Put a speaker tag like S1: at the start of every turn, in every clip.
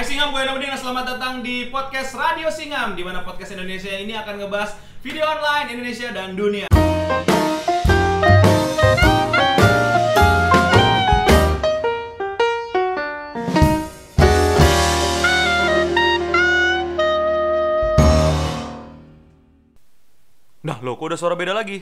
S1: Singam, gue Nobedin, selamat datang di podcast Radio Singam di mana podcast Indonesia ini akan ngebahas video online Indonesia dan dunia.
S2: Nah, loh kok udah suara beda lagi?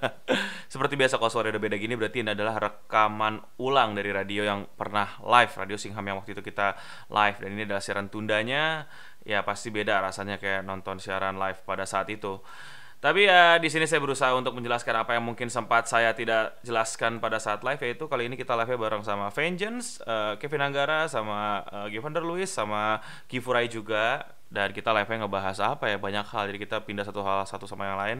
S2: Seperti biasa kalau suara udah beda gini berarti ini adalah rekaman ulang dari radio yang pernah live, radio Singham yang waktu itu kita live dan ini adalah siaran tundanya. Ya pasti beda rasanya kayak nonton siaran live pada saat itu. Tapi ya di sini saya berusaha untuk menjelaskan apa yang mungkin sempat saya tidak jelaskan pada saat live yaitu kali ini kita live bareng sama Vengeance, eh, Kevin Anggara, sama eh, Givander Lewis, sama Kifurai juga dan kita live-nya ngebahas apa ya banyak hal jadi kita pindah satu hal satu sama yang lain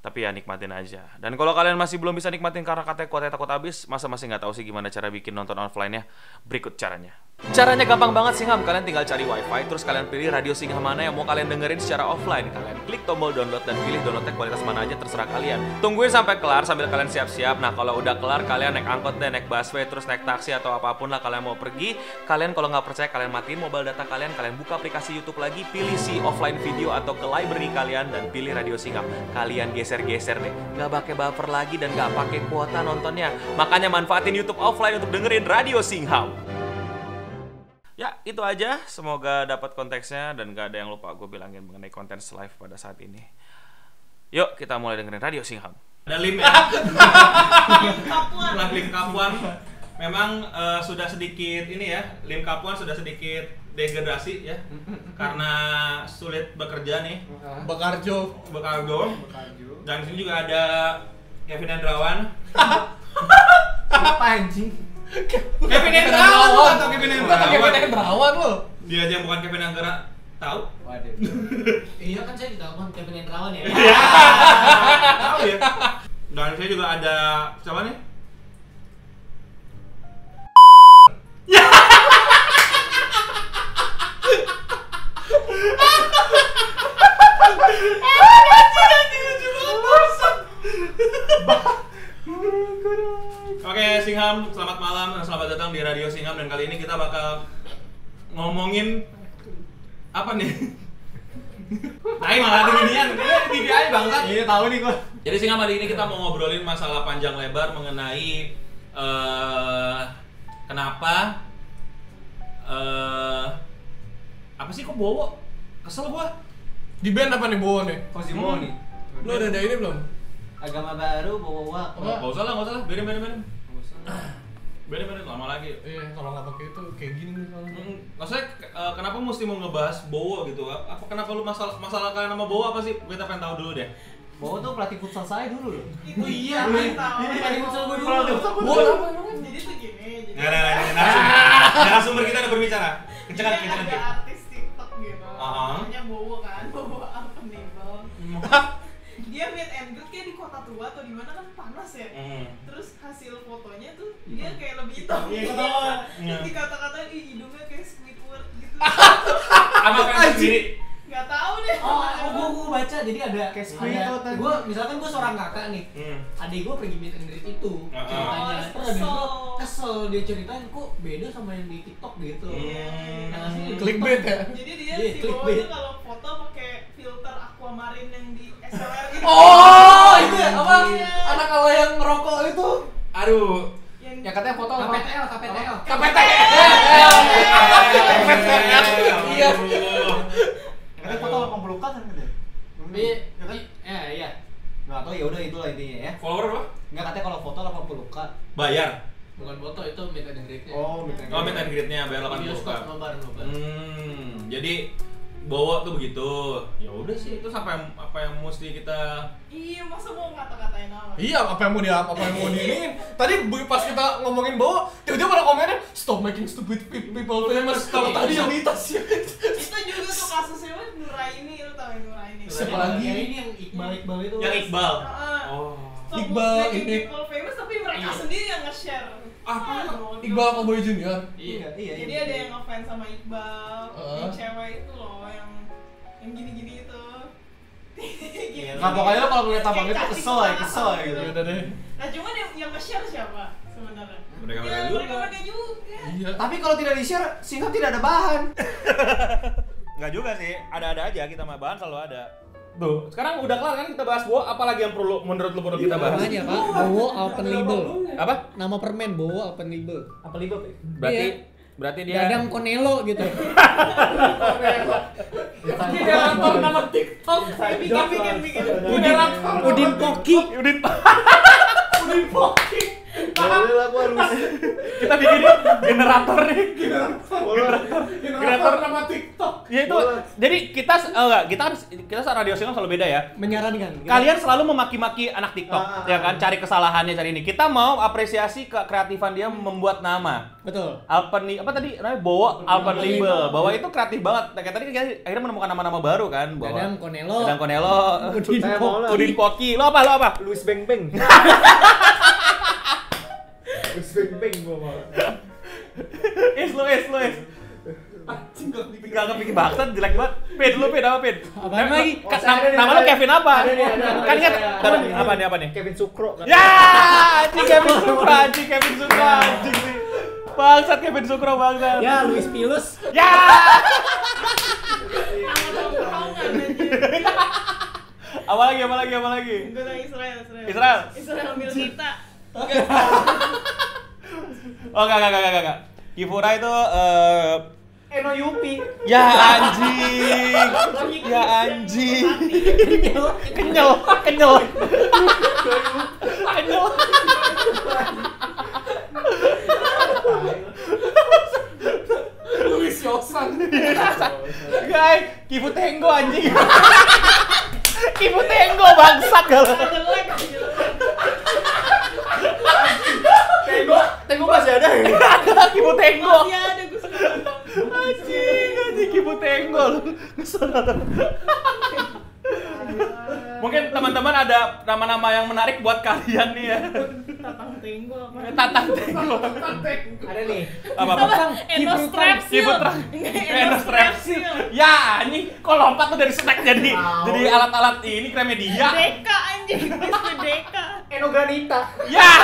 S2: tapi ya nikmatin aja dan kalau kalian masih belum bisa nikmatin karena katanya kuotanya takut habis masa masih nggak tahu sih gimana cara bikin nonton offline nya berikut caranya caranya gampang banget Singham kalian tinggal cari wifi terus kalian pilih radio Singham mana yang mau kalian dengerin secara offline kalian klik tombol download dan pilih downloadnya kualitas mana aja terserah kalian tungguin sampai kelar sambil kalian siap-siap nah kalau udah kelar kalian naik angkot deh naik busway terus naik taksi atau apapun lah kalian mau pergi kalian kalau nggak percaya kalian matiin mobile data kalian kalian buka aplikasi YouTube lagi pilih si offline video atau ke library kalian dan pilih radio Singham kalian geser-geser deh nggak pakai buffer lagi dan nggak pakai kuota nontonnya makanya manfaatin YouTube offline untuk dengerin radio Singham Ya, itu aja. Semoga dapat konteksnya dan gak ada yang lupa gue bilangin mengenai konten live pada saat ini. Yuk, kita mulai dengerin Radio Singham.
S1: Ada lim ya. Setelah lim kapuan, memang eh, sudah sedikit ini ya, lim kapuan sudah sedikit degradasi ya, karena sulit bekerja nih,
S3: Bekarjo.
S1: bekargo.
S3: Bekarjo.
S1: Dan di sini juga ada Kevin Hendrawan.
S3: Apa anjing?
S1: Kevin Hendrawan lu atau Kevin
S3: Bukan Kevin
S1: Hendrawan?
S3: Hendrawan lo.
S1: Dia aja yang bukan Kevin Anggara tahu?
S3: Waduh.
S4: Iya kan saya ditelepon Kevin Hendrawan ya.
S1: tahu ya. Dan saya juga ada siapa nih? Oke, Singham, selamat malam dan selamat datang di Radio Singham dan kali ini kita bakal ngomongin apa nih? Tapi malah ada ginian, TV aja bangsat.
S3: Iya tahu nih gua.
S1: Jadi Singham hari ini kita mau ngobrolin masalah panjang lebar mengenai eh kenapa eh apa sih kok bowo? Kesel gua. Hmm.
S3: Di band apa nih Bowo nih?
S1: Kosimoni.
S3: Lu udah ada ini belum?
S4: Agama baru bawa
S3: Apa?
S1: Enggak Oh, usah lah, enggak usah lah. Biarin, biarin, biarin. Biarin, biarin lama lagi.
S3: Iya, kalau nggak pakai itu kayak gini nih kalau.
S1: Hmm, Maksudnya ke- eh, kenapa mesti mau ngebahas Bowo gitu? Apa kenapa lu masalah masalah kalian sama Bowo apa sih? Kita pengen tahu dulu deh.
S4: Bawa tuh pelatih futsal saya dulu loh.
S1: Oh iya, nih.
S4: Pelatih futsal gue dulu.
S3: Bowo apa emang?
S5: jadi tuh gini
S1: Nah, nah, nah,
S5: jadi
S1: nah, narasumber. narasumber kita udah berbicara.
S5: dia
S1: Kencengan,
S5: kan
S1: kencengan.
S5: ada
S1: Dik.
S5: artis TikTok gitu
S1: Ah.
S5: namanya Bowo kan Bowo Unpenible dia meet and greet kayak di kota tua atau di mana kan panas ya
S1: Hmm.
S5: terus hasil fotonya tuh dia kayak lebih hitam
S1: Iya,
S5: gitu
S1: ketahuan. Iya.
S5: terus dikata-kata ih hidungnya kayak Squidward gitu
S1: Apa kan sendiri?
S5: nggak tahu deh
S4: Oh, oh gue gue baca jadi ada
S3: Kayak
S4: ada-
S3: screen tuh tadi.
S4: Gue misalkan gue seorang kakak nih.
S1: Hmm.
S4: Adik gue pergi meet and greet itu
S1: Ah, ah.
S4: ceritanya.
S5: Oh,
S4: Terus abis itu
S5: kesel.
S4: kesel dia ceritain kok beda sama yang di TikTok gitu.
S1: Hmm.
S4: Nah, sih,
S3: Clickbait ya.
S5: jadi dia
S4: Iya,
S5: si Bowo
S4: clickbait.
S5: tuh kalau foto pakai filter aquamarine yang di SLR gitu
S3: Oh, itu ya, apa?
S5: Iya.
S3: Anak ala yang ngerokok itu. Aduh.
S5: yang
S3: Ya katanya foto apa?
S4: KPTL, KPTL.
S3: KPTL. Iya.
S6: Katanya foto pemblukan kan katanya.
S4: Iya,
S6: Ya kan?
S4: iya, iya. Nggak tahu ya udah itulah intinya ya.
S1: Follower apa?
S4: Nggak katanya kalau foto 80 k.
S1: Bayar.
S4: Bukan foto itu meet and greetnya.
S6: Oh, meet and
S1: Oh, meet and greet-nya bayar 80
S4: Bioskop,
S1: kan.
S4: nobar, nobar.
S1: Hmm, jadi Bowo tuh begitu. Ya udah sih, itu sampai apa yang mesti kita
S5: iya masa mau ngata-katain nama
S3: Iya, apa yang mau dia apa yang mau diinin? Tadi bu- pas kita ngomongin bawa, tiba-tiba pada komennya stop making stupid people famous.
S4: Iya,
S3: Stop tadi yang mitos ya.
S5: itu juga tuh kasusnya kan Nuraini lu tau yang Nuraini
S3: Siapa
S4: Yang
S3: lagi?
S4: ini yang Iqbal Iqbal itu.
S1: yang Iqbal.
S5: Heeh.
S1: Oh.
S5: So,
S3: Iqbal,
S5: making
S3: ini.
S5: people famous tapi mereka
S4: Iya.
S5: sendiri yang nge-share
S3: Apa?
S5: Ah, goblok.
S3: Iqbal Cowboy Junior.
S7: Eh,
S4: Iya, iya.
S5: jadi
S4: iya.
S5: ada yang ngefans sama Iqbal
S3: Heeh.
S5: yang cewek itu loh yang yang gini-gini itu Gini-gini.
S6: Nah, pokoknya lo kalau ngeliat tampang
S5: Kayak
S6: itu
S5: cacing
S6: kesel
S4: Iya,
S6: ya,
S5: banget
S6: kesel ya gitu.
S3: Ya udah deh.
S5: nah cuman yang yang nge-share siapa sebenarnya
S2: mereka mereka
S5: Ya,
S2: juga
S5: mereka mereka juga.
S2: iya
S8: Tapi kalau tidak di-share, singkat tidak ada bahan.
S2: nggak juga sih ada-ada aja kita mah bahan selalu ada tuh sekarang udah kelar kan kita bahas gua apalagi yang perlu menurut lu perlu kita
S1: Iya.
S2: bahas
S7: Namanya pak, Bowo Open Label.
S2: apa
S7: Nama permen Bowo Open Label.
S2: apa liga berarti
S7: Iya.
S2: berarti dia
S7: Dadang Konelo gitu.
S1: Generator nama TikTok.
S5: Tapi kita bikin bikin.
S1: Generator.
S7: Udin Poki.
S2: Udin
S1: Udin Poki.
S8: Boleh lah gua harus.
S2: kita bikin generator nih
S1: Generator nama TikTok.
S2: ya itu jadi kita eh, enggak kita kan kita saat radio sinyal selalu beda ya
S7: Menyarankan.
S2: kalian selalu memaki-maki anak TikTok
S8: Ah, ah,
S2: ya kan cari kesalahannya cari ini kita mau apresiasi ke kreatifan dia membuat nama
S7: Betul.
S2: Alpen li- apa tadi namanya Bowo Alpen Label bahwa itu kreatif banget Nah, kayak tadi kita akhirnya menemukan nama-nama baru kan bahwa
S7: Dadang Konelo.
S2: Dadang Konelo
S7: Udin
S8: Saya mau
S7: Poki.
S8: lah.
S2: Udin Poki lo apa lo apa
S8: Luis Beng Beng. Luis Beng Beng gua mau.
S2: is lo is lo is
S1: Anjing gak dipikir.
S2: Gak kepikir bangsat, jelek banget. Pin, lu pin apa pin?
S7: Apaan
S2: Nama-
S7: lagi?
S2: Ka-
S8: Oh, saya
S2: nam-
S8: ada nih,
S2: nama
S8: ada
S2: lu
S8: nih.
S2: Kevin apa?
S8: Ada nih, ada, ada,
S2: Kan
S8: ada,
S2: kan apa
S8: saya. Ada
S2: nih?
S8: nih.
S2: Apa nih? Apa nih?
S8: Kevin Sukro kan.
S2: Ya, anjing Kevin Sukro, anjing Kevin Sukro, anjing nih. Bangsat Kevin Sukro bangsat. Ya.
S7: Ya, Luis Pilus.
S6: Iya.
S5: Tangan tongkrongan aja.
S2: Apa lagi? Apa lagi? Apa lagi?
S5: Tentang Israel, Israel.
S2: Israel?
S5: Israel milik kita.
S2: Oh, enggak enggak enggak enggak, enggak. Kifura itu eh
S8: Eno Yupi.
S2: ya anjing. Ya anjing. Kenyal, kenyal. Kenyal.
S1: Luis Yosan.
S2: Guys, Kifu Tenggo anjing. Kifu Tenggo bangsat kalau.
S5: Jelek, jelek.
S8: Tengok, tengok masih ada ya?
S2: Kifu Tenggo.
S5: Masih ada gue suka nonton.
S2: Anjing, anjing Kifu Tenggo lu. Kesel banget. Mungkin teman-teman ada nama-nama yang menarik buat kalian nih ya.
S5: Tatang tenggo apa?
S2: Eh, Tatang Tenggo.
S8: Ada nih.
S2: Apa apa?
S5: Apa? Enostrepsil.
S2: Kifu Trang.
S5: Enostrepsil.
S2: Ya, anjing kok lompat tuh dari snack jadi jadi alat-alat ini kremedia.
S5: Ya. Deka anjing, Mr. Deka.
S8: Eno Granita.
S2: Ya,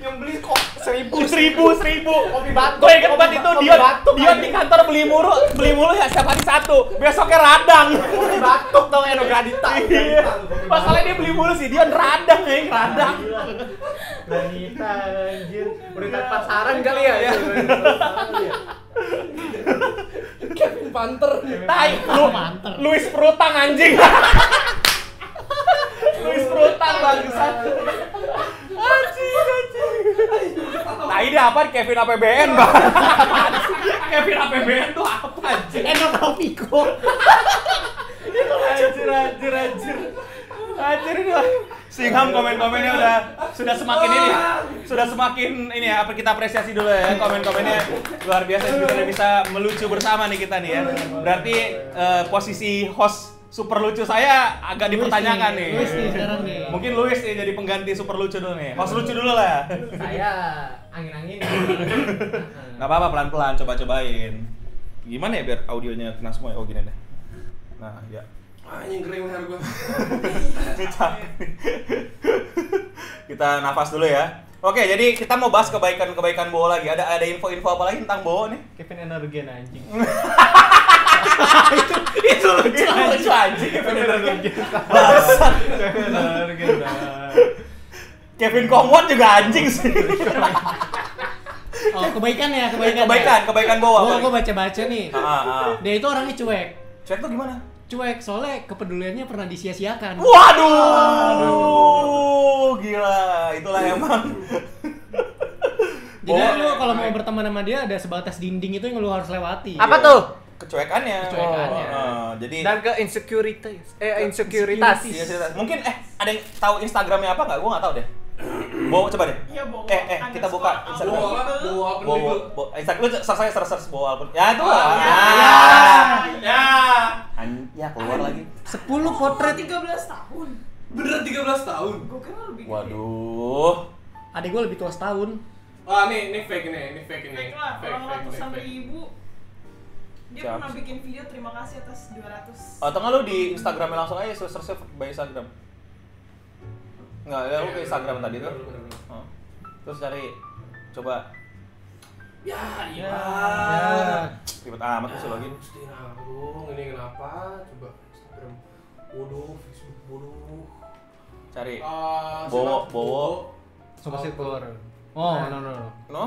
S8: Yang beli kok seribu.
S2: seribu seribu.
S8: Kopi batuk.
S2: Gue inget banget
S8: kopi
S2: itu
S8: ba- kopi
S2: Dion,
S8: batuk,
S2: Dion
S8: anjing.
S2: di kantor beli mulu, beli mulu ya setiap hari satu. Besoknya radang.
S8: Kopi batuk tau eh, Eno Granita.
S2: Iya. Masalahnya dia beli mulu sih, Dion radang ya, radang.
S8: Granita anjir. Udah kan pasaran kali ya ya.
S1: Kevin Panther.
S2: Tai, lu Luis Perutang anjing. Luis Perutang bangsat. Anjing, anjing. Tai dia apa Kevin APBN, Bang? Kevin APBN tuh apa anjing?
S7: Eno Topiko.
S2: Anjir, anjir, anjir. Anjir ini lah. Singham komen-komennya udah sudah semakin ini sudah semakin ini ya apa kita apresiasi dulu ya komen-komennya luar biasa sudah bisa melucu bersama nih kita nih ya. Berarti eh, posisi host super lucu saya agak dipertanyakan nih.
S7: Luis nih sekarang nih.
S2: Mungkin Luis nih jadi pengganti super lucu dulu nih. Host lucu dulu lah.
S8: Saya angin-angin.
S2: Gak apa-apa pelan-pelan coba-cobain. Gimana ya biar audionya kena semua ya? Oh gini deh. Nah, ya.
S1: Anjing kering leher gua.
S2: kita nafas dulu ya. Oke, jadi kita mau bahas kebaikan-kebaikan Bowo lagi. Ada ada info-info apa lagi tentang Bowo nih?
S8: Kevin Energen anjing.
S2: Itu lucu lucu anjing.
S8: Kevin Energen.
S2: Kevin Kongwon juga anjing sih.
S7: Oh, kebaikan ya, kebaikan.
S2: Kebaikan, kebaikan Bowo.
S7: Gua
S2: apa?
S7: gua baca-baca nih.
S2: Ah, ah.
S7: Dia itu orangnya cuek.
S2: Cek tuh gimana?
S7: Cuek soalnya kepeduliannya pernah disia-siakan.
S2: Waduh, gila. Itulah emang.
S7: Jadi
S2: Bowo-
S7: lu kalau mau berteman sama dia ada sebatas dinding itu yang lu harus lewati.
S8: Apa tuh?
S2: Kecuekannya.
S7: Kecuekannya.
S2: Oh, ah, jadi
S8: Dan ke insecurities. Eh insekuritas.
S2: Iya, cerita. Mungkin eh ada yang tahu Instagramnya apa nggak? Gua nggak tahu deh. Bowo coba deh.
S5: Iya, Bowo.
S2: Eh, eh, kita buka
S5: Underscore
S2: Instagram.
S5: Bowo.
S1: Bawa apa?
S2: Bowo, Bowo, Instagram eh, lu search saya search search Bowo Alpen. Ya itu.
S1: Oh,
S3: Ah,
S2: lah.
S5: ya.
S2: Ya. An- Ya keluar lagi.
S7: 10
S5: Potret
S7: potret
S5: 13 tahun.
S1: Bener 13 tahun.
S5: Gue kira lebih gede.
S2: Waduh.
S7: Adik gue lebih tua setahun.
S1: Wah, nih, Oh, ini fake nih, ini fake nih.
S5: Fake lah, orang ratusan ribu. Dia
S2: Siap.
S5: pernah bikin video terima kasih atas 200.
S2: Oh, Atau nggak lu di Instagramnya langsung aja search search by Instagram. Nggak, ya lu ke Instagram tadi tuh.
S1: Bener, bener, bener.
S2: Oh. terus cari coba
S3: Ya, iya.
S2: ribet amat sih login
S3: Mesti nanggung, ini kenapa? Coba Instagram bodoh, Facebook bodoh.
S2: cari
S3: Ah,
S2: Bowo,
S3: siapa?
S2: Bowo.
S7: Sobat Silver. Oh, no no no.
S2: no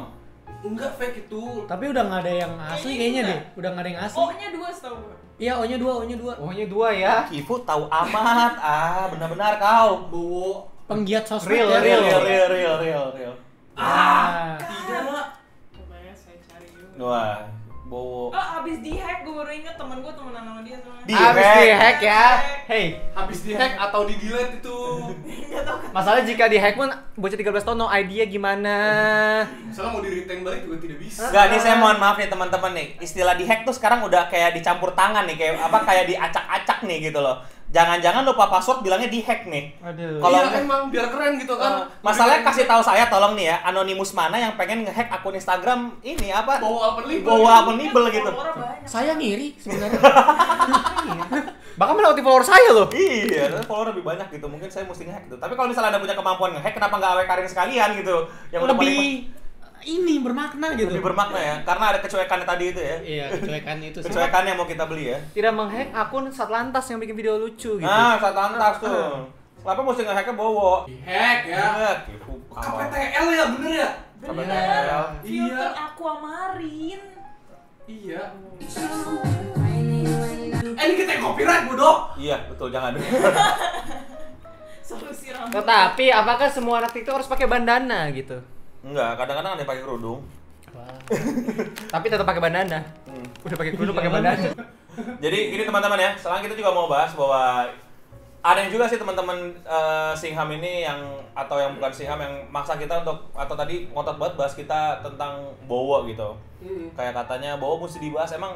S3: Enggak fake itu.
S7: Tapi udah nggak ada yang asli kayaknya deh. Udah nggak ada yang asli.
S5: O-nya dua setahu gue.
S7: Iya, O-nya dua, O-nya dua.
S6: Pokoknya dua ya.
S2: Ah, Kifu tahu amat ah benar-benar kau
S3: Bowo.
S7: Penggiat sosmed
S6: Real,
S7: ya.
S2: real real real real real, real.
S7: Ah.
S3: Tidak.
S2: ya,
S5: Pokoknya saya cari juga.
S2: wah bowo
S5: Oh, abis dihack gue baru inget temen gue temenan sama dia sama
S2: Di-
S6: Habis
S2: Di-hack.
S6: di-hack ya. Hey,
S3: Habis dihack atau di delete itu.
S5: Gak tau kan
S6: masalah jika di-hack pun bocah 13 tahun no idea gimana.
S3: Misalnya mau di retain balik juga tidak bisa.
S2: Enggak, nih saya mohon maaf nih teman-teman nih. Istilah di hack tuh sekarang udah kayak dicampur tangan nih, kayak apa kayak diacak-acak nih gitu loh. Jangan-jangan lupa password bilangnya di hack nih.
S7: Aduh.
S2: Kalau-
S3: Iya, emang biar keren gitu
S2: Eh,
S3: kan.
S2: masalahnya kasih tahu saya tolong nih ya, anonimus mana yang pengen ngehack akun Instagram ini apa?
S3: Bowo open label.
S2: Bowo akun nibel gitu.
S5: follower banyak.
S7: Saya ngiri sebenarnya.
S6: Bahkan melewati follower saya loh.
S2: Iya, ternyata follower lebih banyak gitu. Mungkin saya mesti ngehack gitu. Tapi kalau misalnya Anda punya kemampuan ngehack, kenapa nggak awet karin sekalian gitu? udah paling-
S7: lebih ini bermakna gitu.
S2: lebih bermakna ya, karena ada kecuekannya tadi itu ya.
S7: Iya, kecuekan itu sih.
S2: Kecuekan yang mau kita beli ya.
S6: Tidak menghack akun Satlantas yang bikin video lucu gitu.
S2: Nah, saya tantas tuh. Kenapa mesti ngehacknya bowo?
S3: Di hack ya.
S2: Ya, gitu.
S3: KPTL ya bener ya?
S5: Bener.
S2: Iya.
S5: Filter
S3: Iya.
S5: aquamarin.
S3: Iya. Eh ini kita yang copyright bodoh.
S2: Iya, betul jangan.
S5: Solusi rambut.
S6: Tetapi apakah semua anak TikTok harus pakai bandana gitu?
S2: Enggak, kadang-kadang ada yang pakai kerudung.
S6: Tapi tetap pakai bandana.
S2: Hmm.
S6: Udah pakai kerudung pakai bandana.
S2: Jadi ini teman-teman ya, sekarang kita juga mau bahas bahwa ada yang juga sih teman-teman eh, Singham ini yang atau yang bukan Singham yang maksa kita untuk atau tadi ngotot banget bahas kita tentang Bowo gitu. Kayak katanya Bowo mesti dibahas. Emang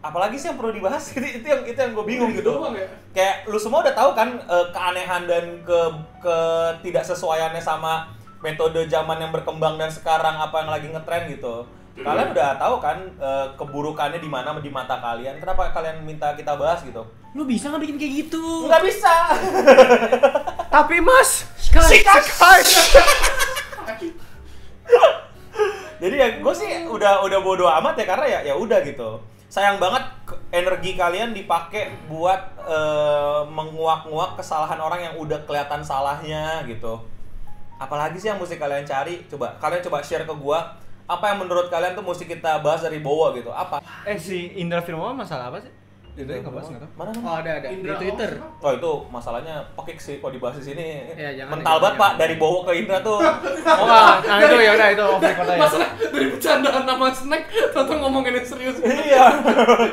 S2: apalagi sih yang perlu dibahas? itu, itu yang itu yang gue bingung
S3: Itu
S2: gitu.
S3: doang ya?
S2: Kayak lu semua udah tahu kan eh, keanehan dan ke ketidaksesuaiannya sama metode zaman yang berkembang dan sekarang apa yang lagi ngetren gitu. Kalian udah tahu kan eh, keburukannya di mana di mata kalian. Kenapa kalian minta kita bahas gitu?
S7: Lu bisa nggak bikin kayak gitu?
S2: Nggak bisa.
S6: Tapi Mas,
S7: Sekali.
S2: Jadi ya gue sih udah udah bodo amat ya karena ya ya udah gitu. Sayang banget ke- energi kalian dipakai buat eh, menguak-nguak kesalahan orang yang udah kelihatan salahnya gitu. Apalagi sih yang mesti kalian cari? Coba kalian coba share ke gua apa yang menurut kalian tuh mesti kita bahas dari Bowo gitu. Apa?
S6: eh si Indra Firmawan masalah apa sih? Indra nggak bahas nggak tahu.
S2: Mana
S7: Oh,
S2: mana?
S7: ada ada
S3: Indra
S7: di Twitter.
S3: Off.
S2: Oh itu masalahnya pokik sih kalau dibahas di sini.
S7: Ya, jangan
S2: Mental banget
S7: deh, Iya. jangan.
S2: Pak dari Bowo ke Indra tuh.
S6: Oh, nah, nah itu ya udah itu off record aja.
S3: Masalah dari bercandaan nama snack, tentu ngomongin yang serius.
S2: Iya.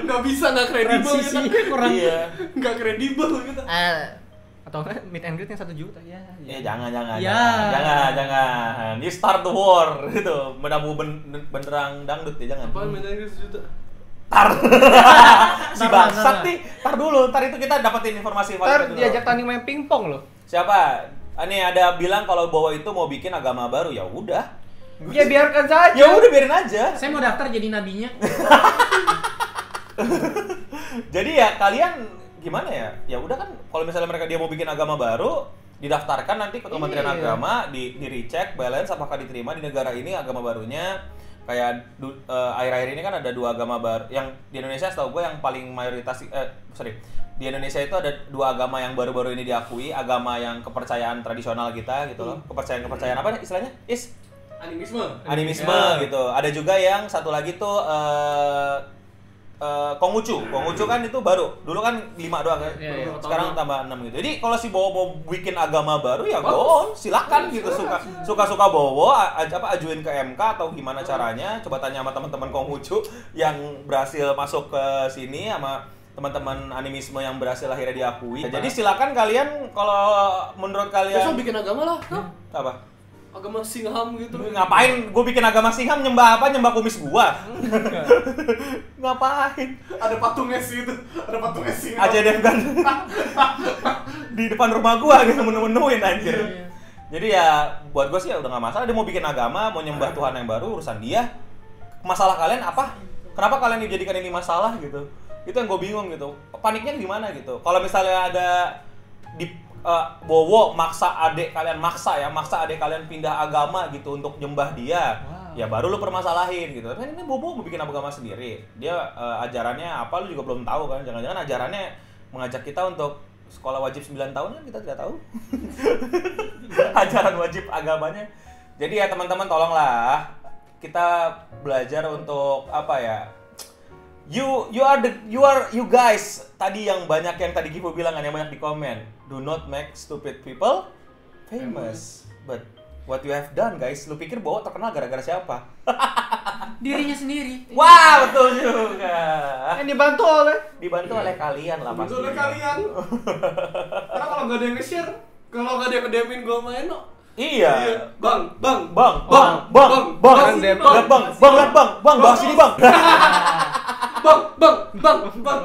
S3: Nggak bisa, nggak kredibel kita.
S7: Transisinya kurang.
S2: Iya.
S3: Nggak kredibel kita.
S6: Eh, atau enggak meet and greet yang satu juta ya?
S2: Ya jangan jangan
S7: Ya.
S2: jangan jangan jangan you start the war gitu menabu ben benderang dangdut ya jangan
S3: Apaan mainan sejuta?
S2: tar si
S7: Tar,
S2: bangsat
S7: tar, tar.
S2: nih tar dulu tar itu kita dapetin informasi valid
S6: Ntar
S2: dulu.
S6: diajak tanding main pingpong loh.
S2: siapa Ah, nih ada bilang kalau bawa itu mau bikin agama baru ya udah
S6: Ya biarkan saja.
S2: ya udah biarin aja
S7: Saya mau daftar jadi nabinya.
S2: jadi ya kalian gimana ya ya udah kan kalau misalnya mereka dia mau bikin agama baru didaftarkan nanti ke Kementerian
S6: Iya.
S2: Agama di di recheck balance apakah diterima di negara ini agama barunya kayak du- eh, akhir-akhir ini kan ada dua agama baru yang di Indonesia setahu gue yang paling mayoritas eh sorry di Indonesia itu ada dua agama yang baru-baru ini diakui agama yang kepercayaan tradisional kita gitu loh kepercayaan kepercayaan apa istilahnya is
S3: Animisme.
S2: animisme
S6: Ya.
S2: gitu. Ada juga yang satu lagi tuh eh eh, Konghucu. Konghucu kan itu baru. Dulu kan lima doang kan.
S7: Iya, iya.
S2: Sekarang tambah enam gitu. Jadi kalau si Bowo mau bikin agama baru ya
S3: Bagus.
S2: go on, silakan gitu suka suka suka Bowo a- a- apa ajuin ke MK atau gimana caranya? Coba tanya sama teman-teman Konghucu yang berhasil masuk ke sini sama teman-teman animisme yang berhasil akhirnya diakui. Jadi silakan kalian kalau menurut
S3: Besok
S2: kalian
S3: bikin agama lah, tuh.
S2: apa?
S3: Agama Singham gitu.
S2: Lu ngapain gue bikin agama singham nyembah apa nyembah kumis gua ngapain
S3: Ada patung es gitu. Ada patung es Singham.
S2: aja Devgan di depan rumah gua gitu menu-menuin anjir jadi ya buat gue sih ya udah nggak masalah dia mau bikin agama mau nyembah Tuhan yang baru urusan dia masalah kalian apa kenapa kalian dijadikan ini masalah gitu itu yang gue bingung gitu paniknya gimana gitu kalau misalnya ada di eh, Bowo maksa adik kalian maksa ya, maksa adik kalian pindah agama gitu untuk nyembah dia. Ya baru lu permasalahin gitu. Tapi ini Bowo bikin agama sendiri. Dia eh, ajarannya apa lu juga belum tahu kan. Jangan-jangan ajarannya mengajak kita untuk sekolah wajib 9 tahun kan kita tidak tahu. Ajaran wajib agamanya. Jadi ya teman-teman tolonglah kita belajar untuk apa ya You you are the you are you guys tadi yang banyak yang tadi Gipo bilang kan yang banyak di komen. Do not make stupid people famous. But what you have done guys, lu pikir bahwa terkenal gara-gara siapa?
S7: Dirinya sendiri.
S8: Iya.
S2: Wah, betul juga.
S9: Yang dibantu oleh
S2: Dibantu oleh kalian lah pasti.
S8: Itu oleh kalian. Karena kalau nggak ada yang nge-share, kalau nggak ada yang ngedemin gue main, no.
S2: Iya.
S8: Iya. Bang, bang,
S2: Bang, bang, bang, bang,
S8: bang,
S2: lihat bang, bang, bang, lihat bang, bang, bang, sini bang.
S8: bang, bang, bang, bang.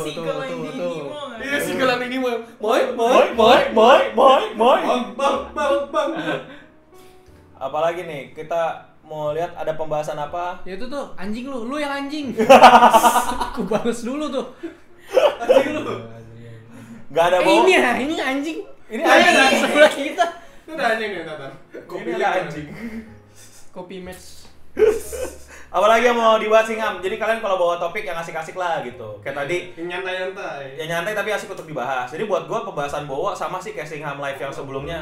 S5: Si gelang ini mau nggak?
S8: Iya sih gelang ini mau, mau, mau,
S2: Boy, boy, boy, boy, boy.
S8: bang, bang, bang, bang.
S2: Apalagi nih, kita mau lihat ada pembahasan apa?
S7: Ya itu tuh anjing lu, lu yang anjing. Ku balas dulu tuh.
S8: Anjing lu.
S2: Gak ada
S7: Eh,
S2: bohong.
S7: ini ya, ini anjing.
S2: Ini anjing.
S7: sebelah kita.
S8: Itu udah anjing ya, Tatan.
S2: Ini ada anjing.
S7: Kopi match.
S2: Apalagi yang mau dibahas Singham. Jadi kalian kalau bawa topik yang asik-asik lah gitu. Kayak tadi
S8: Nyantai-nyantai.
S2: ya nyantai tapi asik untuk dibahas. Jadi buat gua pembahasan bawa sama sih kayak Singham live yang sebelumnya.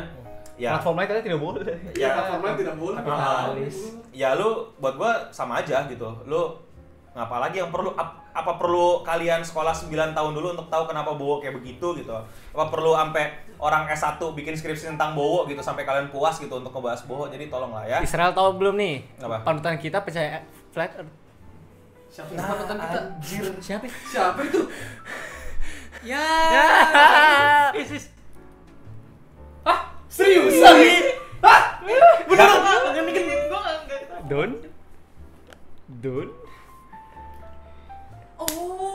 S2: Ya,
S9: platform lain katanya tidak boleh.
S2: ya,
S8: Platformnya tidak boleh.
S2: Kapitalis. ya lu buat gua sama aja gitu. Lu ngapa lagi yang perlu ap- apa perlu kalian sekolah 9 tahun dulu untuk tahu kenapa bowo kayak begitu gitu. Apa perlu sampai orang S1 bikin skripsi tentang bowo gitu sampai kalian puas gitu untuk ngebahas bowo. Jadi tolonglah ya.
S7: Israel tahu belum nih?
S2: Apa?
S7: Panutan kita percaya flat earth.
S8: Siapa
S2: Nah,
S8: panutan kita?
S2: anjir.
S7: Siapa? ya?
S8: Siapa itu?
S7: Ya. Isis.
S8: Seriusan?
S5: Bener Gue nggak nggak tahu.
S9: Don. Don.
S5: Oh.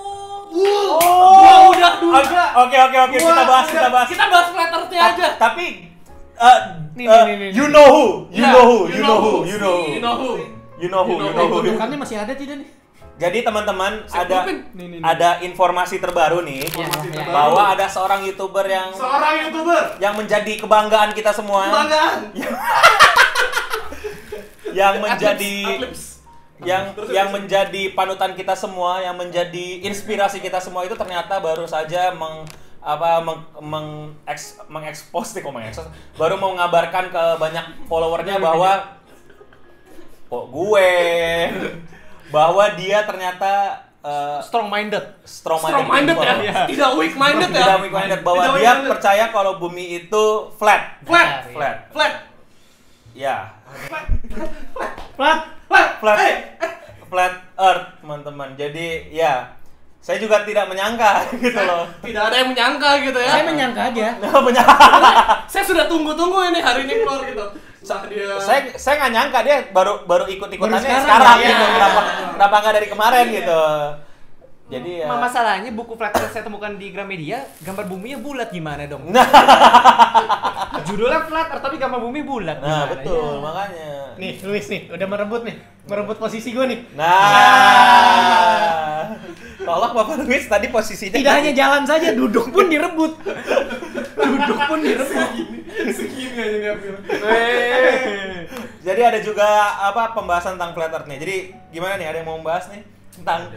S2: Oh, udah Oke oke oke kita bahas kita bahas. Ah.
S7: Kita bahas flat earth-nya
S2: Ta-
S7: aja.
S2: Tapi eh,
S7: Nih,
S2: eh,
S7: nih, nih, nih,
S2: you
S7: nih.
S2: know who, you
S7: Ya,
S2: know who, you know who, you know who,
S8: You know who?
S2: you know who,
S8: You know
S2: you know who.
S7: Bentukannya masih ada tidak nih?
S2: Jadi teman-teman ada
S8: Kupin.
S7: Nih, nih, nih.
S2: ada informasi terbaru nih
S8: Informasi
S7: Ya, ya,
S8: terbaru.
S2: bahwa ada seorang youtuber yang
S8: Seorang youtuber.
S2: yang menjadi kebanggaan kita semua,
S8: Kebanggaan.
S2: yang menjadi
S8: Atlips.
S2: yang yang menjadi panutan kita semua, yang menjadi inspirasi kita semua itu ternyata baru saja meng apa meng, meng eks- mengekspos nih, kok mengekspos baru mau mengabarkan ke banyak followernya bahwa kok gue bahwa dia ternyata eh,
S7: Strong minded.
S2: strong
S8: Strong minded ya. Tidak weak minded ya.
S2: Iya. tidak weak minded bahwa
S8: Tidak
S2: dia
S8: weak-minded.
S2: percaya kalau bumi itu flat
S8: Flat.
S2: flat
S8: Flat.
S2: ya
S7: Flat.
S8: Flat.
S2: flat flat earth teman-teman jadi ya saya juga tidak menyangka gitu loh
S8: Tidak ada yang menyangka gitu ya.
S7: Saya menyangka aja.
S2: Menyangka.
S8: Saya sudah tunggu-tunggu ini hari ini keluar gitu. Saat dia
S2: saya saya nggak nyangka dia baru baru ikut ikutannya
S7: Baru
S2: sekarang,
S7: sekarang,
S8: ya.
S2: gitu
S8: Iya.
S2: kenapa kenapa nggak dari kemarin gitu jadi ya
S7: Ma- masalahnya buku flat earth saya temukan di Gramedia, gambar buminya bulat gimana dong?
S2: Nah.
S7: Judulnya flat earth tapi gambar bumi bulat.
S2: nah
S7: gimana
S2: betul
S7: ya?
S2: makanya
S7: Nih, Luis nih, udah merebut nih. Merebut posisi gue nih.
S2: nah tolak bapak Luis tadi posisinya gitu.
S7: Tidak hanya jalan saja, duduk pun direbut. duduk pun direbut.
S8: segini aja dia bilang.
S2: Jadi ada juga apa pembahasan tentang flat earth nih. Jadi gimana nih ada yang mau membahas nih tentang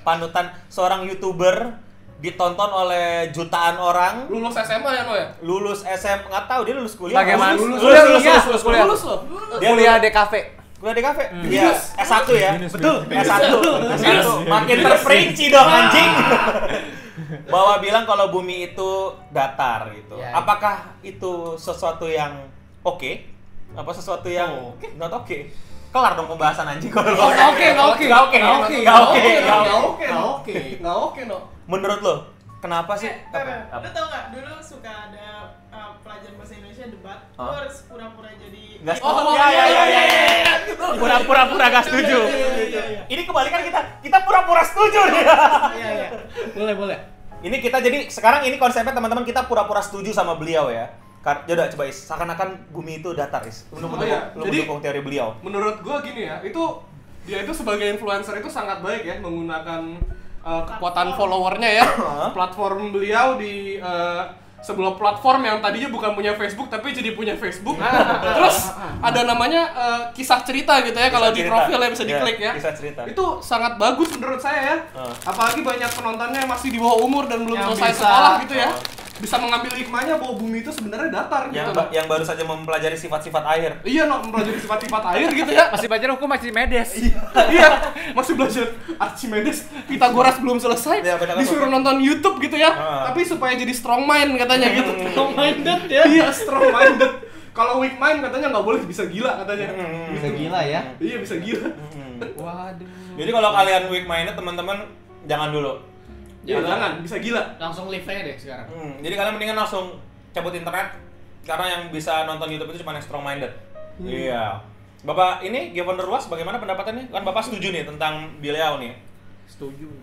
S2: panutan seorang YouTuber ditonton oleh jutaan orang
S8: Lulus SMA ya lo ya?
S2: lulus SM nggak tahu dia lulus kuliah
S10: Bagaimana? Lulus,
S2: lulus,
S10: lulus,
S2: lulus, kuliah.
S10: lulus, lulus, kuliah.
S8: Lulus loh.
S2: Dia
S10: Kuliah
S2: lulus-
S10: di kafe.
S2: kuliah di kafe Iya, S1 ya betul
S9: Binus.
S2: S1 S1 makin terperinci dong anjing bahwa bilang kalau bumi itu datar gitu
S10: Ya.
S2: apakah itu sesuatu yang oke apa sesuatu yang not oke kelar dong pembahasan anjing kalau
S8: Nggak oke, nggak oke.
S2: Nggak oke
S8: Nggak
S2: nggak
S8: oke,
S2: oke nggak oke.
S8: nggak oke, nggak oke, nggak oke, no.
S2: menurut lo kenapa sih
S5: Eh, bentar, bentar.
S2: Apa?
S5: Lu tau gak, dulu suka ada uh, pelajaran bahasa Indonesia debat Lu
S2: Hah?
S5: harus pura-pura jadi
S2: Nggak
S5: Oh,
S2: setuju. Ya, ya, ya, ya, ya, ya. Pura-pura pura gak setuju.
S5: Iya, iya, iya, iya.
S2: Ini kebalikan kita. Kita pura-pura setuju nih.
S5: Iya, iya
S7: Boleh, boleh.
S2: Ini kita jadi sekarang ini konsepnya teman-teman kita pura-pura setuju sama beliau ya. Kar Yaudah coba Is, seakan-akan bumi itu datar Is. Lu
S8: Oh,
S2: mendukung,
S8: iya.
S2: lu
S8: Jadi-
S2: mendukung teori beliau.
S8: Menurut gua gini ya, itu dia itu sebagai influencer itu sangat baik ya menggunakan uh, kekuatan
S5: Platform.
S8: followernya ya, platform beliau di uh, sebuah platform yang tadinya bukan punya Facebook tapi jadi punya Facebook. Terus ada namanya eh, kisah cerita gitu ya kalau di
S2: cerita.
S8: profil ya bisa
S2: Iya,
S8: diklik ya.
S2: kisah cerita.
S8: Itu sangat bagus menurut saya ya.
S2: Ah.
S8: Apalagi banyak penontonnya yang masih di bawah umur dan belum
S4: Yang
S8: selesai
S4: bisa.
S8: sekolah gitu ya. Bisa mengambil hikmahnya bahwa bumi itu sebenarnya datar gitu.
S2: Ah. yang
S8: loh.
S2: ba- yang baru saja mempelajari sifat-sifat air.
S8: Iya, no, mempelajari sifat-sifat air gitu ya.
S7: Masih belajar hukum masih medes.
S8: iya masih belajar Archimedes Pitagoras belum selesai
S2: Iya, benar,
S8: disuruh nonton YouTube gitu ya
S2: Ah. Hmm.
S8: tapi supaya jadi strong mind katanya gitu
S4: Strong minded ya.
S8: iya strong minded kalau weak mind katanya nggak boleh bisa gila katanya
S2: Hmm.
S4: Bisa gila ya.
S8: iya bisa gila
S4: Waduh.
S2: Jadi kalau kalian weak minded teman-teman jangan dulu.
S8: ya
S2: Iya.
S8: jangan bisa gila
S4: Langsung live aja deh sekarang.
S2: Hmm, jadi kalian mendingan langsung cabut internet karena yang bisa nonton YouTube itu cuma yang strong minded. Iya. Bapak ini Gavin Ruas bagaimana pendapatannya? Kan Bapak setuju nih tentang Bileau nih.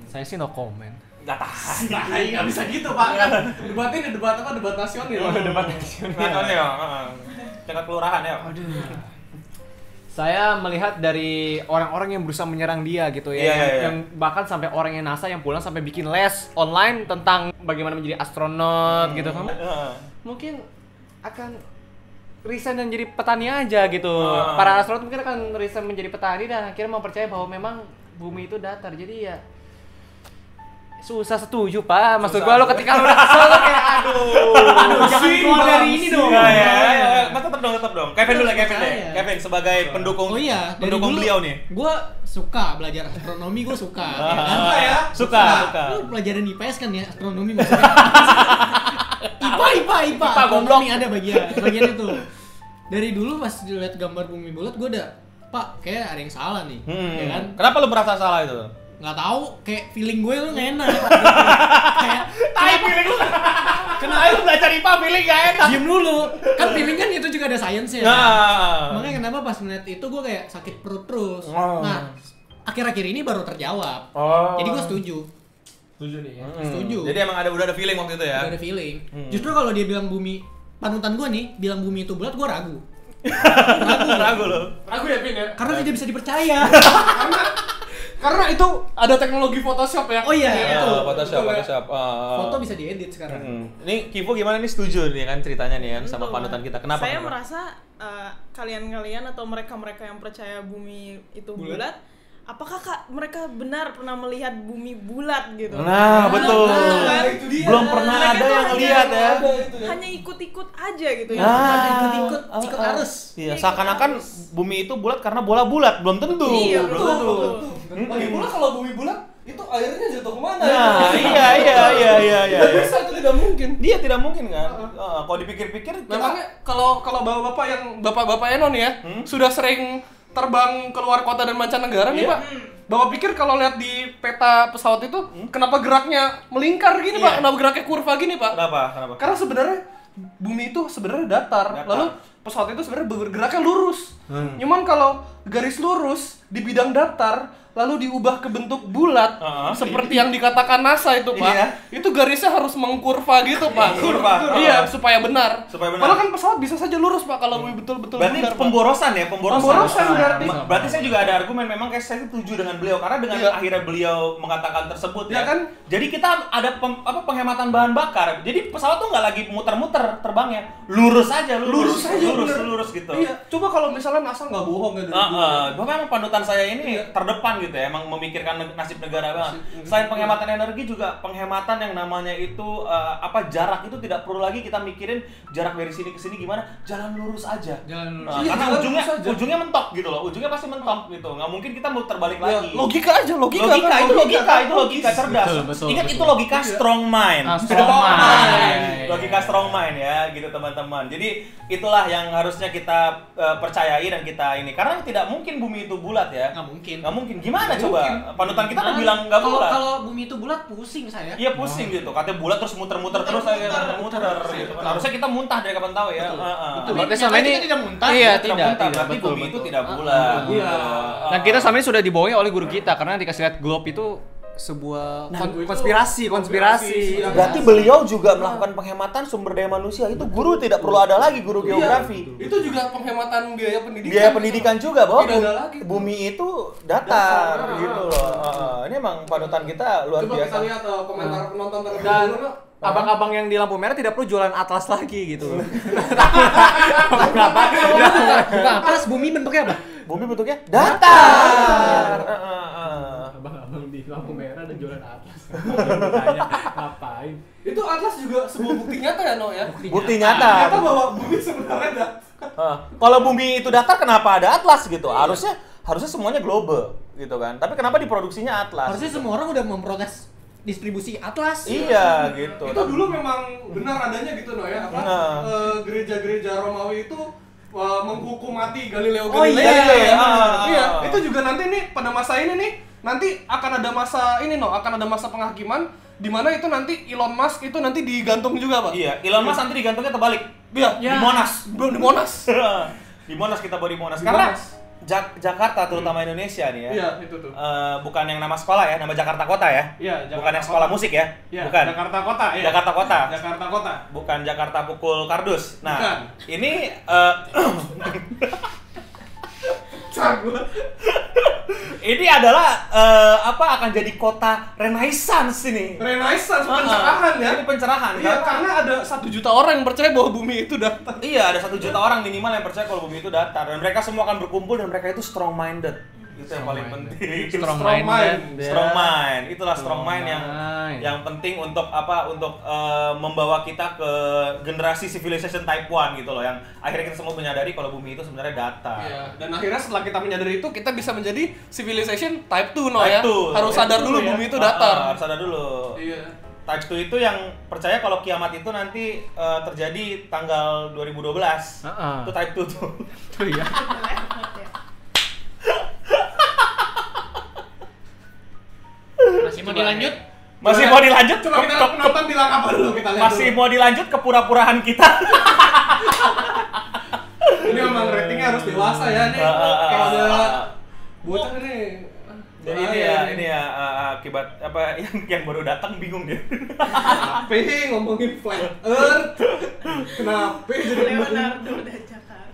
S7: Saya sih no comment.
S2: Gak tahan.
S8: nah nggak bisa gitu pak kan debat ini debat apa debat nasional debat
S2: Nontonnya ya. heeh. Tingkat kelurahan ya.
S7: Saya melihat dari orang-orang yang berusaha menyerang dia gitu
S2: Iya,
S7: ya, yang,
S2: iya, iya.
S7: yang bahkan sampai orang yang NASA yang pulang sampai bikin les online tentang bagaimana menjadi astronot gitu kan.
S2: Heeh.
S7: Mungkin akan resign dan jadi petani aja gitu.
S2: Ah.
S7: Para astronot mungkin akan resign menjadi petani dan akhirnya mempercayai bahwa memang bumi itu datar. Jadi ya susah setuju pak
S2: Ah,
S7: maksud gua lo ketika lo udah kesel lo kayak aduh
S8: Oh,
S7: jangan keluar dari ini dong
S2: Iya ya. ya. Mas tetap dong, tetap dong. Kevin dulu lah, Kevin deh.
S4: Percaya.
S2: Kevin sebagai pendukung
S4: ya? Oh iya, dari
S2: pendukung
S4: dulu
S2: beliau nih.
S4: Gue suka belajar astronomi, gue suka. ya kan?
S2: Suka ya? Suka,
S4: Nah,
S2: suka.
S4: Lu pelajaran IPS kan ya, astronomi maksudnya. IPA, IPA, IPA. astronomi ada bagian, bagian itu. Dari dulu pas dilihat gambar bumi bulat, gue udah, Pak, kayak ada yang salah nih,
S2: Hmm.
S4: ya kan?
S2: Kenapa lu merasa salah itu?
S4: Nggak tahu, kayak feeling gue lu nggak enak. kayak, tai feeling lu. Kenapa lu belajar IPA feeling gak enak? Diem dulu, kan feeling kan itu juga ada
S2: Iya.
S4: sainsnya.
S2: Nah.
S4: Makanya kenapa pas ngeliat itu gue kayak sakit perut terus.
S2: Oh.
S4: Nah, akhir-akhir ini baru terjawab.
S2: Oh.
S4: Jadi gue setuju.
S2: Hmm.
S4: Setuju.
S2: Jadi emang ada udah ada feeling waktu itu ya.
S4: Gak ada feeling.
S2: Hmm.
S4: Justru kalau dia bilang bumi panutan gue nih bilang bumi itu bulat gue ragu.
S2: Ragu lo.
S8: aku ya pin ya
S4: Karena tidak bisa dipercaya.
S8: karena itu ada teknologi Photoshop ya
S4: Oh iya,
S8: Iya,
S4: itu.
S2: Ah, Photoshop,
S8: Betul ya.
S2: Photoshop. ah,
S7: Oh.
S4: Foto bisa diedit
S7: Hmm.
S4: sekarang.
S2: Hmm. Ini Kipo gimana nih setuju nih kan ceritanya nih kan sama
S5: Betul,
S2: panutan
S5: Pak.
S2: kita. Kenapa?
S5: Gitu, Saya
S2: kenapa?
S5: merasa eh, kalian-kalian atau mereka-mereka yang percaya bumi itu bulat, apakah Kak, mereka benar pernah melihat bumi bulat gitu?
S2: Nah, betul.
S5: betul kan?
S8: Nah, Itu dia.
S2: Belum pernah
S5: Mereka
S2: ada
S5: tuh
S2: yang
S5: hanya-
S2: lihat ya.
S5: gitu Hanya ikut-ikut aja gitu ya.
S2: Ah,
S4: ikut-ikut,
S2: ah,
S4: ikut
S2: ah.
S4: arus.
S2: Iya,
S5: Iya,
S2: seakan-akan bumi itu bulat karena bola bulat, belum tentu.
S5: Iya,
S2: Belum
S5: betul,
S2: tentu.
S5: betul.
S8: lagi pula kalau bumi bulat itu airnya jatuh kemana
S2: Nah, iya iya iya iya iya.
S8: Nggak bisa itu tidak mungkin
S2: Dia tidak mungkin kan? Ah, kalau dipikir-pikir kita-
S8: Memangnya kalau kalau bapak-bapak yang bapak-bapak Enon ya sudah sering terbang keluar kota dan mancanegara nih pak. Bapak pikir kalau lihat di peta pesawat itu kenapa geraknya melingkar gini pak? Kenapa geraknya kurva gini pak?
S2: kenapa? Kenapa?
S8: Karena sebenarnya bumi itu sebenarnya datar.
S2: Datar. Hmm.
S8: Lalu pesawat itu sebenarnya bergeraknya lurus. Cuman kalau garis lurus di bidang datar lalu diubah ke bentuk bulat
S2: Heeh.
S8: seperti yang dikatakan NASA itu pak
S2: Ah. Iya.
S8: itu garisnya harus mengkurva gitu pak
S2: Kurva.
S8: iya supaya benar
S2: Ah. Supaya benar. Hmm.
S8: Padahal kan pesawat bisa saja lurus pak kalau betul-betul
S2: Berarti
S8: benar, Pak.
S2: pemborosan ya, pemborosan.
S8: Pemborosan berarti.
S2: Ma- Berarti saya juga ada argumen memang kayak saya setuju dengan beliau karena dengan
S8: Iya.
S2: akhirnya beliau mengatakan tersebut ya.
S8: Iya kan?
S2: Jadi kita ada pem- apa penghematan bahan bakar. Jadi pesawat tuh nggak lagi muter-muter terbangnya, lurus aja, lurus,
S8: lurus aja
S2: lurus,
S8: benar.
S2: lurus gitu. Ah,
S8: Iya, coba kalau misalnya NASA nggak bohong ya dari
S2: Heeh,
S8: dulu.
S2: Bapak emang panutan saya ini terdepan gitu ya, emang memikirkan neg- nasib negara banget. Selain penghematan energi juga penghematan yang namanya itu eh, apa jarak itu tidak perlu lagi kita mikirin jarak dari sini ke sini gimana, jalan lurus aja.
S4: Jalan lurus.
S2: Nah,
S8: Iya,
S2: karena
S8: jalan
S2: ujungnya
S8: lurus aja.
S2: ujungnya mentok gitu loh, ujungnya pasti mentok gitu. Nggak mungkin kita muter balik
S8: Ya,
S2: lagi.
S8: logika aja, logika,
S2: Logika,
S8: kan,
S2: itu logika, itu
S8: kan.
S2: logika cerdas.
S7: Betul, betul,
S2: Ingat
S7: betul.
S2: itu logika strong mind. Iya,
S7: Ah, strong mind.
S2: Logika strong mind ya, gitu teman-teman. Jadi itulah yang harusnya kita eh, percayai dan kita ini karena tidak mungkin bumi itu bulat ya.
S4: Nggak mungkin.
S2: Nggak mungkin. Gimana coba? Panutan kita
S4: Nah,
S2: tuh bilang nggak
S4: kalau-
S2: bulat.
S4: Kalau bumi itu bulat pusing saya.
S2: Iya pusing gitu, katanya bulat terus muter-muter terus aja muter gitu. kan. Harusnya kita muntah dari kapan tahu ya.
S4: Betul.
S2: Ah, ah.
S4: Betul.
S7: berarti selama
S4: Kita
S7: ini
S4: tidak muntah,
S7: iya
S2: Kita
S7: tidak
S2: muntah,
S7: tidak
S2: berarti
S7: betul
S2: bumi itu
S7: betul.
S2: tidak bulat.
S8: Ah, iya.
S2: Gitu.
S7: Dan kita selama ini sudah dibohongi oleh guru kita karena dikasih lihat globe itu sebuah
S4: Nah,
S7: kon- konspirasi, konspirasi.
S4: iya.
S8: konspirasi.
S2: Berarti beliau juga melakukan penghematan sumber daya manusia. Itu guru tidak perlu ada lagi guru
S8: Iya.
S2: geografi.
S8: Itu juga penghematan biaya pendidikan.
S2: Biaya pendidikan juga bahwa
S8: Tidak ada
S2: bumi-
S8: lagi.
S2: bumi itu datar gitu loh. Heeh, Ini emang panutan kita luar
S8: Coba
S2: biasa.
S8: Nah. kita lihat uh, komentar penonton terlebih dahulu. Nok.
S7: abang-abang yang di lampu merah tidak perlu jualan atlas lagi gitu.
S4: Bukan atas bumi bentuknya apa?
S7: Bumi bentuknya datar.
S6: Abang-abang di lampu merah dan jualan atas. Ngapain?
S8: Itu atlas juga sebuah bukti nyata ya, No ya.
S7: Bukti nyata.
S8: Ternyata bahwa bumi sebenarnya ada.
S2: Hah, Kalau bumi itu datar, kenapa ada atlas
S8: Iya.
S2: gitu? Harusnya harusnya semuanya global gitu kan. Tapi kenapa diproduksinya atlas?
S4: Harusnya semua orang udah memprotes distribusi atlas.
S2: Iya gitu.
S8: Itu dulu memang benar adanya gitu, No ya. Apa
S2: Nah.
S8: eh, gereja-gereja Romawi itu eh, menghukum mati Galileo
S2: Oh,
S8: Galilei.
S2: iya, iya.
S8: Iya.
S2: Ah.
S8: Iya, itu juga nanti nih pada masa ini nih nanti akan ada masa ini no akan ada masa penghakiman di mana itu nanti Elon Musk itu nanti digantung juga pak
S2: Iya, Elon Musk nanti digantungnya terbalik.
S8: Iya,
S2: Di Monas.
S8: belum di Monas
S2: di Monas kita bawa di Monas.
S8: Di
S2: Karena
S8: Monas. Hmm.
S2: Jak- Jakarta terutama Indonesia nih ya.
S8: iya itu tuh
S2: Eh, bukan yang nama sekolah ya, nama Jakarta Kota ya.
S8: Iya,
S2: bukan
S8: Jakarta
S2: yang sekolah musik ya.
S8: Iya,
S2: bukan.
S8: Jakarta Kota iya.
S2: Jakarta Kota.
S8: Jakarta Kota
S2: Bukan Jakarta pukul kardus. Nah,
S8: Bukan.
S2: ini eh, ini adalah eh, apa akan jadi kota renaissance ini.
S8: Renaissance pencerahan ya
S2: Ah, Ini pencerahan. kan?
S8: iya karena ada satu juta orang yang percaya bahwa bumi itu datar
S2: Iya, ada satu juta orang minimal yang percaya kalau bumi itu datar dan mereka semua akan berkumpul dan mereka itu strong minded. Itu yang paling penting.
S7: Strong
S8: mind,
S7: mind.
S2: Strong mind. Itulah strong, mind
S7: Strong
S2: yang
S7: mind.
S2: yang penting untuk apa? Untuk eh, membawa kita ke generasi civilization type 1 gitu loh yang akhirnya kita semua menyadari kalau bumi itu sebenarnya datar.
S8: Iya, dan akhirnya setelah kita menyadari itu kita bisa menjadi civilization type 2 no
S2: Type
S8: ya.
S2: two.
S8: Harus
S2: Type
S8: sadar
S2: two
S8: dulu
S2: ya.
S8: bumi itu
S2: Ah, ah,
S8: datar.
S2: harus sadar dulu.
S8: Iya.
S2: Type 2 itu yang percaya kalau kiamat itu nanti eh, terjadi tanggal 2012.
S7: Ah, ah.
S2: Itu type 2 tuh.
S7: ya.
S4: Masih mau dilanjut?
S2: Masih mau dilanjut?
S8: Coba
S2: Ke-
S8: kita
S2: ke-
S8: penonton bilang apa dulu kita lihat.
S2: Masih mau dilanjut ke pura-puraan kita.
S8: dulu. Ini memang ratingnya harus dewasa ya nih.
S2: Ah, ah, ah,
S8: Kalau ada
S2: ah, ah.
S8: bocah nih. Ah,
S2: Ya,
S8: Oh,
S2: ini ya,
S8: iya,
S2: ini ya uh, uh, akibat apa yang yang baru datang bingung dia.
S8: Apa ah, ngomongin flat earth? Kenapa jadi
S5: Leonardo dan Jakarta.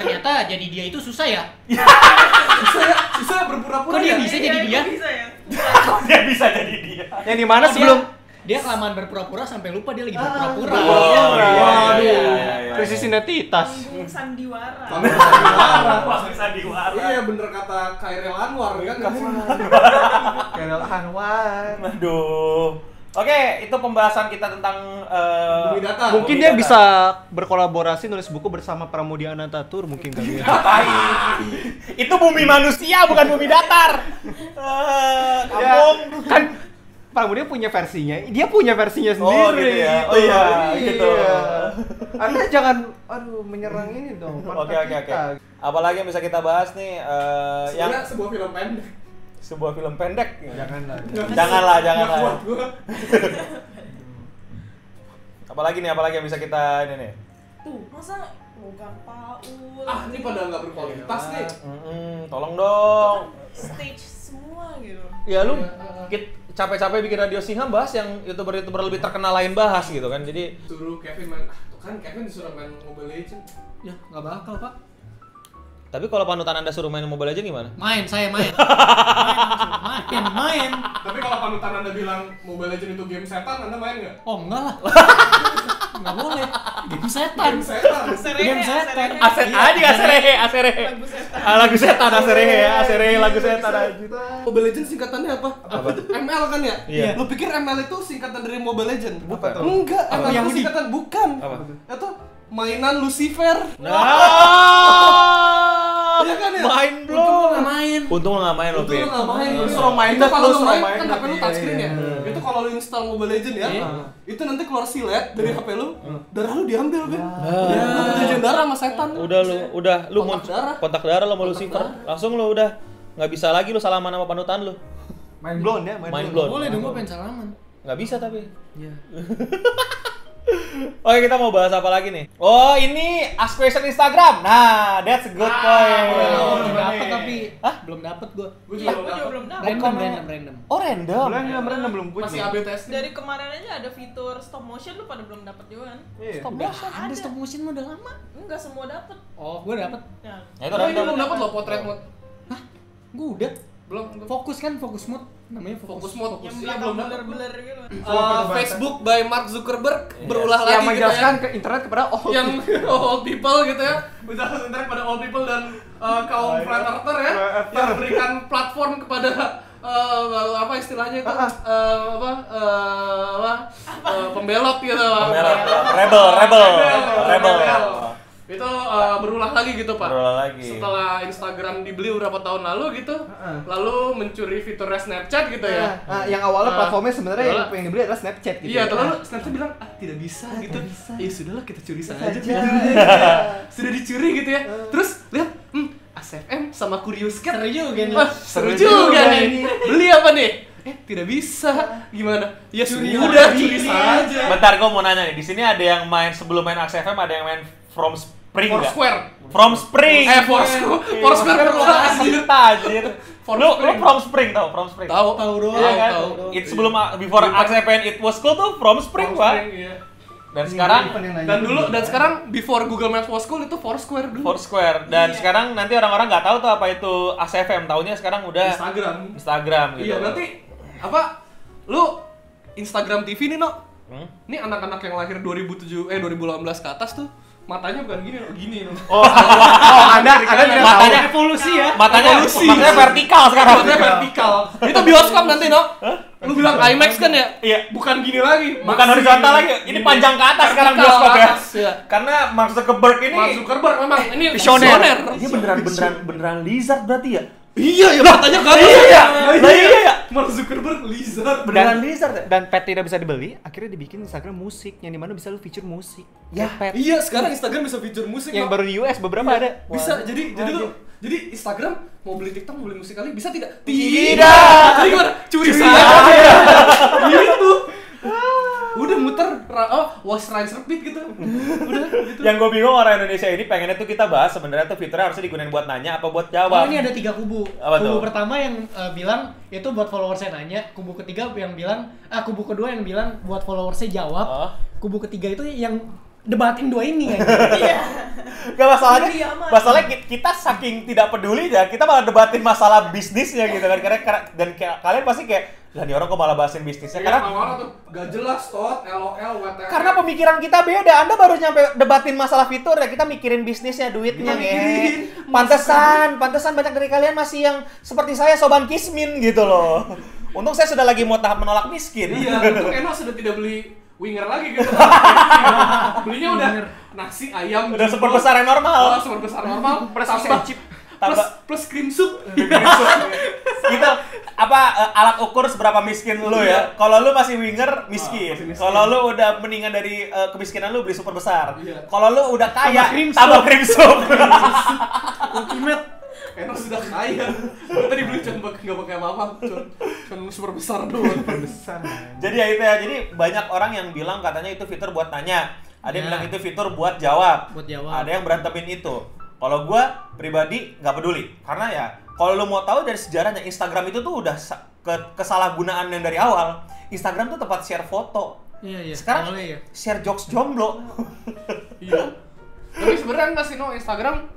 S4: Ternyata jadi dia itu susah ya.
S8: susah ya? Susah
S4: Kok
S8: berpura-pura
S4: dia
S8: ya?
S4: bisa jadi dia?
S5: Iya, kok Bisa ya.
S2: dia bisa jadi dia.
S7: Yang di
S4: Oh,
S7: mana
S4: dia-
S7: sebelum Ah,
S4: dia kelamaan berpura-pura sampai lupa dia lagi berpura-pura.
S2: Oh, Waduh.
S8: iya,
S7: krisis identitas?
S5: Panggung sandiwara.
S8: Kamu
S2: bisa
S8: sandiwara. Iya bener kata Kairil Anwar kan nggak sih?
S7: Kenal Anwar.
S2: Aduh. Oke, itu pembahasan kita tentang uh,
S8: Bumi datar.
S7: Mungkin dia bisa berkolaborasi nulis buku bersama Pramudia Anantatur mungkin kali ya.
S2: Tai. itu bumi manusia bukan bumi datar. Eh, kampung.
S7: kan Pramudia punya versinya. Dia punya versinya
S2: Oh,
S7: sendiri.
S2: gitu ya. Oh, iya, gitu.
S7: Anda jangan aduh menyerang ini dong.
S2: Oke
S7: pantai
S2: oke oke.
S7: kita.
S2: Apalagi yang bisa kita bahas nih eh, yang
S8: Sebenarnya sebuah film pendek.
S2: sebuah film pendek.
S7: Janganlah.
S2: Janganlah, janganlah.
S8: Nggak kuat gua.
S2: Apalagi nih, apalagi yang bisa kita ini nih.
S5: Tuh, masa logam paul.
S8: Ah, ini pada nggak berkualitas nih.
S2: Mm-mm, tolong dong.
S5: stage semua gitu.
S2: Ya lu kit- capek-capek bikin radio Singham bahas yang youtuber-youtuber lebih terkenal lain bahas gitu kan. Jadi
S8: Suruh Kevin main, ah tuh kan Kevin disuruh main Mobile Legends.
S4: Ya, nggak bakal, Pak.
S2: tapi kalau panutan Anda suruh main Mobile Legends gimana?
S4: Main, saya main. main, main.
S8: Tapi kalau panutan anda bilang Mobile Legends itu game setan, anda main nggak?
S4: Oh, enggak lah. Enggak boleh. Game setan.
S8: Game setan.
S5: Serehe,
S4: Game setan.
S5: serehe.
S2: Aset aja aserehe, aserehe.
S5: Lagu setan.
S2: Ah, lagu setan aserehe ya, aserehe lagu setan aja.
S8: Mobile Legends singkatannya apa? Apa tuh? ML kan ya?
S2: Iya.
S8: Lu pikir ML itu singkatan dari Mobile Legends?
S2: Bukan.
S8: Enggak, ML
S4: Yang
S8: itu
S4: ini?
S8: singkatan bukan.
S2: Apa?
S8: Itu mainan Lucifer.
S2: Nah.
S8: Iya kan ya?
S2: Main
S4: Untung
S2: belum.
S4: nggak main.
S2: Untung lu nggak main lu,
S8: Itu lu
S2: Pip.
S8: nggak main,
S7: Lu
S8: Itu
S7: suruh main
S8: itu
S7: dah,
S8: kalau
S7: lu
S8: lu
S7: suruh
S8: main
S7: main
S8: kan
S7: dah.
S8: HP lu
S7: Iya,
S8: touchscreen ya.
S7: iya, iya.
S8: Itu kalau lu install Mobile Legends ya, itu nanti keluar silet dari HP lu, darah lu diambil kan. Udah, Lu perjanjian darah sama setan.
S2: Udah lu, udah lu
S8: Kontak
S2: muncul
S8: darah.
S2: kontak darah lu sama Lucifer. Langsung lu udah nggak bisa lagi lu salaman sama panutan lu.
S7: Main blown ya, main,
S2: Main
S7: blown.
S2: blown.
S4: Boleh dong, gua pengen salaman.
S2: Nggak bisa tapi. Oke kita mau bahas apa lagi nih? Oh ini ask question Instagram. Nah that's a good
S8: Iya,
S4: Oh,
S2: point.
S4: belum dapet tapi.
S2: Hah?
S4: Belum dapet gua.
S8: Gua
S5: Iya,
S8: juga
S5: gue juga
S8: dapat.
S5: belum dapet.
S4: Random, random, random.
S2: Oh
S7: Belum
S2: random.
S7: yang berenang belum punya.
S8: Masih AB testing.
S5: Dari kemarin aja ada fitur stop motion lu pada belum dapet juga kan?
S7: Iya.
S4: Stop motion. Ada stop motion mah udah lama.
S5: Enggak semua dapet.
S4: Oh, gua dapet.
S5: Nah,
S2: Nah, itu
S8: Nah, ini
S2: random.
S8: belum dapat loh potret mode.
S4: Gua udah.
S8: belum
S4: Fokus kan, fokus mode. Namanya fokus,
S8: Fokus mode.
S5: yang
S8: Fokusnya
S5: belakang
S8: belum dapat.
S5: blur-blur gitu
S8: Eh, Facebook by Mark Zuckerberg berulah
S7: Iya.
S8: lagi
S7: yang
S8: gitu
S7: menjelaskan ke internet kepada oh
S8: ya. yang old people gitu ya menjelaskan internet pada old people dan eh, kaum flat earther ya yang memberikan platform kepada eh, apa istilahnya itu Eh, apa eh, apa Eh, pembelot gitu
S2: Pembelot. Rebel, rebel, rebel.
S8: itu eh, berulah lagi gitu pak
S2: Berulah lagi.
S8: setelah Instagram dibeli beberapa tahun lalu gitu lalu mencuri fiturnya Snapchat gitu ya
S7: Ah, yang awalnya
S8: Ah.
S7: platformnya sebenarnya yang,
S8: Berulah.
S7: yang dibeli adalah Snapchat gitu. ya.
S8: Iya, terlalu Snapchat bilang ah tidak bisa gitu. Ya sudahlah kita
S7: Ah.
S8: curi saja
S7: Saja.
S8: fiturnya gitu ya. Sudah dicuri gitu ya.
S7: Ah.
S8: Terus lihat hmm ASFM sama Curious Cat.
S4: Seru juga nih.
S8: Wah, seru juga nih. Beli apa nih? Eh, tidak bisa. Gimana? Ya sudah curi
S4: Iya.
S8: saja.
S2: Bentar, gue mau nanya nih. Di sini ada yang main sebelum main Axe FM, ada yang main From Spring nggak?
S8: Foursquare.
S2: From Spring.
S8: Eh, Foursquare. Foursquare terlalu
S2: Kita
S8: anjir.
S2: Iya. anjir.
S8: From
S2: Lu, lu
S8: Spring.
S2: From Spring tau, From Spring.
S8: Tahu.
S4: Tahu doang,
S2: Iya kan?
S8: tahu.
S2: It sebelum before Axe FM it was cool tuh From Spring, Iya, Pak.
S8: iya.
S2: Dan sekarang
S8: Dan dulu dan sekarang before Google Maps was cool itu Foursquare dulu.
S2: Foursquare dan sekarang nanti orang-orang nggak tahu tuh apa itu ACFM tahunya sekarang udah
S8: Instagram.
S2: Instagram gitu.
S8: Iya nanti apa lu Instagram TV nih no?
S2: Hmm?
S8: Ini anak-anak yang lahir 2007 eh 2018 ke atas tuh matanya bukan gini no, gini no.
S2: Oh, oh Anda Anda tidak tahu.
S7: Matanya-
S2: evolusi ya. Matanya
S8: Evolusi.
S2: matanya vertikal sekarang.
S8: Matanya vertikal. Itu bioskop nanti no. Lu bilang IMAX kan ya?
S2: Iya.
S8: Bukan gini lagi.
S2: Bukan horizontal lagi. Ini panjang Iya. ke atas sekarang bioskop ya. Karena Mark Zuckerberg ini
S8: Mark Zuckerberg memang ini
S2: visioner.
S8: Iya. visioner.
S2: Dia beneran beneran beneran lizard berarti ya?
S8: Iya ya matanya ke atas.
S2: Iya. Lah iya ya.
S8: Mark Zuckerberg lizard.
S2: Beneran lizard ya?
S7: Dan pet tidak bisa dibeli, akhirnya dibikin Instagram musik yang dimana bisa lu feature musik. Ya, pet.
S8: Iya, sekarang Instagram bisa fitur musik
S7: Yang
S8: no.
S7: baru di US beberapa
S4: Iya.
S7: ada.
S8: bisa
S7: Wah.
S8: jadi jadi lu jadi Instagram mau beli TikTok mau beli musik kali bisa tidak jadi gimana curi saja gitu udah muter ra- oh was rise repeat gitu udah gitu
S2: Yang gue bingung orang Indonesia ini pengennya tuh kita bahas sebenarnya tuh fiturnya harusnya digunain buat nanya apa buat
S4: Oh,
S2: jawab.
S4: ini ada tiga kubu.
S2: Apa
S4: kubu
S2: tuh?
S4: pertama yang eh, bilang itu buat followersnya nanya, kubu ketiga yang bilang, ah kubu kedua yang bilang buat followersnya jawab,
S2: Oh.
S4: kubu ketiga itu yang debatin dua ini ya.
S2: Gak masalahnya,
S5: Iya, aman.
S2: masalahnya ki- kita saking tidak peduli ya, kita malah debatin masalah bisnisnya gitu kan. Karena karena- dan kayak- kalian pasti kayak, lah nih orang kok malah bahasin bisnisnya.
S8: karena
S2: Karena
S8: mana tuh gak jelas tot lol wtf
S2: karena pemikiran kita beda. Anda baru nyampe debatin masalah fitur ya, kita mikirin bisnisnya, duitnya ya. Pantesan, pantesan banyak dari kalian masih yang seperti saya soban kismin gitu loh. Untung saya sudah lagi mau tahap menolak miskin.
S8: iya untuk Eno sudah tidak beli winger lagi gitu belinya udah nasi ayam
S2: Udah
S8: jumbo.
S2: seperbesar yang normal.
S8: oh, seperbesar normal
S2: Plus
S8: tambah-
S2: ikan chip.
S8: plus
S2: Tambah-
S8: plus cream soup
S2: gitu apa eh, alat ukur seberapa miskin lu
S4: Iya.
S2: ya kalau lu
S4: Ah,
S2: masih winger miskin,
S8: masih miskin.
S2: kalau lu udah mendingan dari eh, kemiskinan lu beli super besar
S8: Iya.
S2: kalau lu udah
S4: Tambah
S2: kaya
S4: cream
S2: tambah krim soup
S8: Eno sudah kaya. Tadi beli cuman bak- nggak pakai apa-apa, cuman cuman super besar doang.
S2: jadi ya itu ya jadi banyak orang yang bilang katanya itu fitur buat nanya ada yang bilang itu fitur buat
S4: Iya.
S2: jawab
S4: Buat jawab.
S2: ada yang berantemin itu kalau gua pribadi nggak peduli karena ya kalau lu mau tahu dari sejarahnya Instagram itu tuh udah sa- ke- kesalahgunaan yang dari awal Instagram tuh tempat share foto
S4: Iya iya.
S2: sekarang
S4: awalnya ya. Oh.
S2: share jokes jomblo
S8: Iya. Tapi sebenarnya enggak sih no Instagram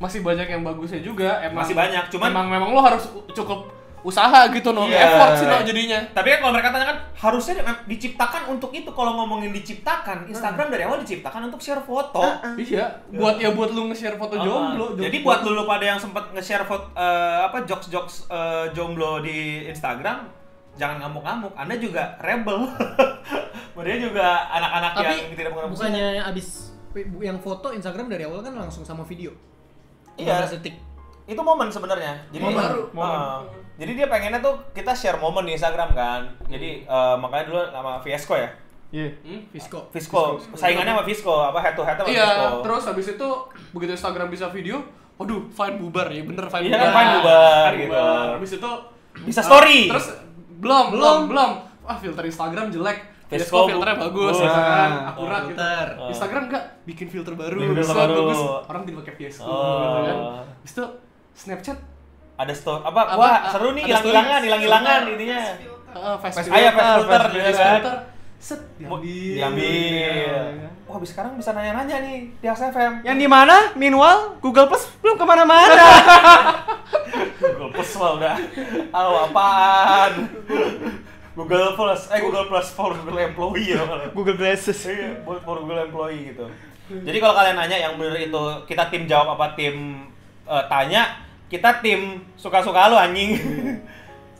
S8: masih banyak yang bagusnya juga. Emang
S2: Masih banyak, cuman-
S8: emang memang lo harus u- cukup usaha gitu no,
S2: Iya.
S8: effort sih no jadinya.
S2: Tapi kan kalau mereka tanya kan harusnya di- diciptakan untuk itu kalau ngomongin diciptakan Instagram dari awal diciptakan untuk share foto.
S8: Iya, buat ya buat lu nge-share
S4: Oh,
S8: foto jomblo.
S2: Jadi
S8: jomblo.
S2: buat lulu pada yang sempat nge-share foto eh, apa jokes-jokes eh, jomblo di Instagram jangan ngamuk-ngamuk. Anda juga rebel. Dia juga anak-anak
S4: Tapi
S2: yang tidak mengenal musik.
S4: bukannya abis yang foto Instagram dari awal kan langsung sama video.
S2: Iya.
S4: 15 detik.
S2: itu momen sebenarnya jadi
S8: Momen.
S2: baru
S8: Momen.
S2: jadi dia pengennya tuh kita share momen di Instagram kan jadi eh, makanya dulu nama Fiesco ya
S8: Hmm?
S4: Fisco.
S2: Visco, saingannya sama Visco, apa head to head sama
S8: Iya,
S2: Visco.
S8: terus habis itu begitu Instagram bisa video, waduh, fine bubar ya bener fine
S2: Iya kan,
S8: bubar.
S2: Vine bubar,
S8: Vine
S2: gitu.
S8: bubar. Habis itu
S2: Bisa
S8: ah,
S2: story.
S8: terus belum, belum, belum. Ah, filter Instagram jelek.
S2: Vesco
S8: Facebook filternya bagus,
S2: bagus.
S8: ya kan?
S2: Ah,
S8: akurat gitu.
S4: filter.
S8: Instagram enggak bikin filter baru,
S2: Bikin filter
S8: slide
S2: baru.
S8: bagus. Orang tidak pakai Vesco
S2: Oh.
S8: gitu kan. Habis itu Snapchat,
S2: Ada Iya. store apa,
S8: Apa,
S2: wah
S8: a-
S2: seru nih
S8: ada
S2: hilang-hilangan,
S8: story.
S2: hilang-hilangan intinya.
S8: uh, face
S2: Face- ah, iya, face filter, gitu kan.
S8: set
S2: Mau-
S8: diambil.
S2: Diambil.
S8: Ya.
S2: Wah, habis sekarang bisa nanya-nanya nih di ASFM.
S7: Yang di mana? Meanwhile, Google Plus belum kemana-mana.
S2: Google mampus lah udah. Aw, apaan? Google Plus, eh Google Plus for Google Employee ya.
S7: Google Glasses.
S2: Iya, buat for Google employee gitu. Jadi kalau kalian nanya yang bener itu kita tim jawab apa tim eh, tanya, kita tim suka-suka lu anjing.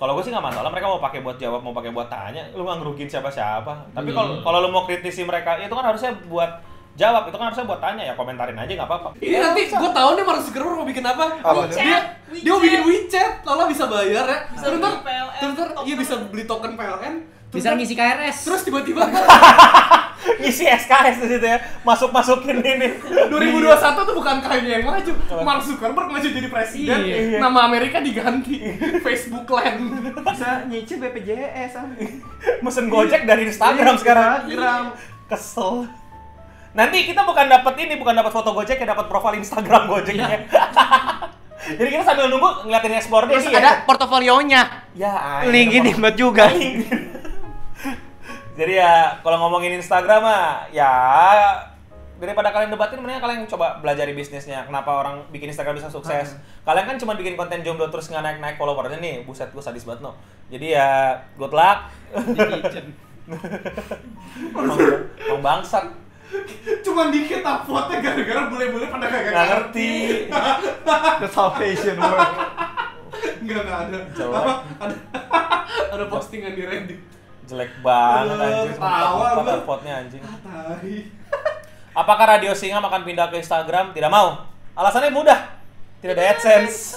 S2: kalau gue sih nggak masalah, mereka mau pakai buat jawab, mau pakai buat tanya, lu nggak ngerugin siapa-siapa. Tapi kalau kalau lu mau kritisi mereka, itu kan harusnya buat jawab, itu kan harusnya buat tanya ya komentarin aja nggak apa-apa.
S8: Ini
S5: Ya,
S8: nanti gue tau nih Mark Zuckerberg mau bikin apa.
S11: Apa?
S8: Dia, dia mau bikin WeChat, lala bisa bayar ya.
S5: Bisa
S8: Terus ntar,
S5: beli PLN,
S8: terus ntar, iya
S5: token.
S8: bisa beli token PLN. Terus
S4: Bisa
S8: ntar-
S4: ngisi KRS.
S8: Terus tiba-tiba
S2: Ngisi SKS di situ ya, masuk-masukin ini.
S8: 2021 tuh bukan kayaknya yang maju. Mark Zuckerberg maju jadi presiden.
S4: Iya.
S8: Nama Amerika diganti Facebook Land.
S7: Bisa nyicil BPJS.
S2: Mesen Gojek dari Instagram
S7: Iya,
S2: sekarang.
S8: Instagram.
S2: Kesel. Nanti kita bukan dapat ini, bukan dapat foto Gojek, ya dapat profil Instagram
S7: Iya.
S2: Gojeknya. Jadi kita sambil nunggu ngeliatin explore
S7: Terus
S4: Iya.
S2: dia,
S7: ada portofolionya.
S2: Ya,
S4: Nah,
S2: ayo,
S7: Link
S2: ada
S7: ini buat juga.
S2: Jadi ya kalau ngomongin Instagram mah ya daripada kalian debatin mendingan kalian coba belajar di bisnisnya kenapa orang bikin Instagram bisa sukses. Kalian kan cuma bikin konten jomblo terus nggak naik-naik followernya nih. Buset gue sadis banget no. Jadi ya good luck. Emang- Emang bangsat.
S8: Cuman dikit uploadnya gara-gara bule-bule pada kagak
S2: Nggak ngerti.
S11: The Salvation World.
S8: Enggak, enggak ada.
S2: Jelek.
S8: Apa? Ada, ada postingan di Reddit.
S2: Jelek banget
S8: Eh,
S2: anjing.
S8: ketawa
S2: Apa
S8: gua.
S2: uploadnya anjing.
S8: Ah, tai.
S2: Apakah Radio Singa akan pindah ke Instagram? Tidak mau. Alasannya mudah. Tidak ada AdSense.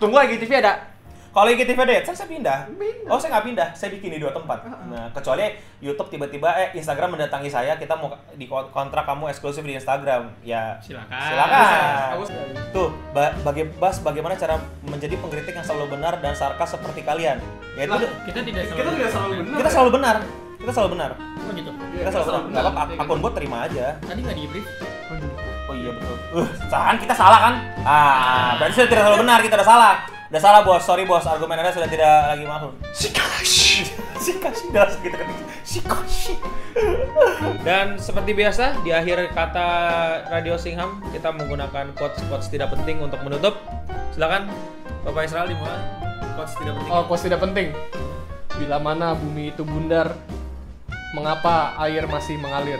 S7: Tunggu lagi TV ada.
S2: Kalau IGTV ada AdSense saya pindah. Oh, saya nggak pindah. Saya bikin di dua tempat. Nah, kecuali YouTube tiba-tiba eh Instagram mendatangi saya, kita mau di kontrak kamu eksklusif di Instagram. Ya,
S4: Silakan.
S2: silakan.
S8: Aku sekali.
S2: Tuh, ba- baga- Bas, bagaimana cara menjadi pengkritik yang selalu benar dan sarkas seperti kalian? Yaitu
S8: Lah,
S4: Kita tidak selalu.
S8: Kita tidak selalu benar.
S2: kita
S8: ya?
S2: selalu benar. Kita selalu benar.
S4: Oh gitu.
S8: Iya,
S2: Kita selalu benar. Nggak apa-apa, ak- akun bot terima aja.
S4: Tadi nggak di brief.
S2: Oh iya betul. Uh, kan kita salah kan? Ah, berarti sudah tidak selalu benar, kita udah salah. Udah salah bos, sorry bos, argumen anda sudah tidak lagi mahun. Sikashi, sikashi, udah langsung kita ketik sikashi. Dan seperti biasa di akhir kata Radio Singham kita menggunakan quotes quotes tidak penting untuk menutup. Silakan Bapak Israel dimulai. Quotes tidak penting.
S8: Oh, kuas tidak penting. Bila mana bumi itu bundar, mengapa air masih mengalir?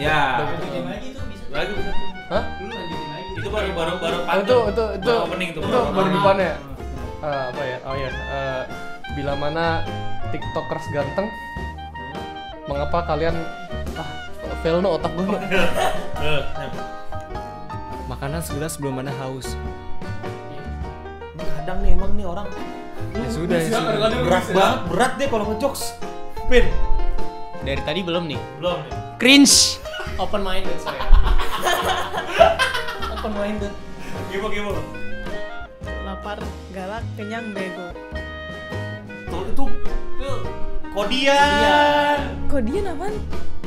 S2: Ya.
S4: Lanjutin lagi tuh bisa.
S2: Lagi
S8: Hah?
S4: Lu lanjutin lagi.
S2: itu baru baru baru
S8: Oh, itu itu itu
S2: Baru opening tuh,
S8: itu
S2: baru
S8: baru
S2: opening.
S8: depannya. Eh, apa ya? Oh ya. eh, bila mana tiktokers ganteng, mengapa kalian ah fail no otak gue
S11: Makanan segelas sebelum mana haus.
S2: Kadang nih emang nih orang
S11: Ya sudah, ya sudah.
S2: berat banget berat deh kalau ngejokes. Pin
S4: Dari tadi belum nih.
S2: belum nih.
S11: Cringe.
S4: Open minded saya. Open minded.
S2: Gimana gimana?
S5: lapar galak kenyang bego
S2: Tuh, itu itu kodian
S5: kok dia apaan?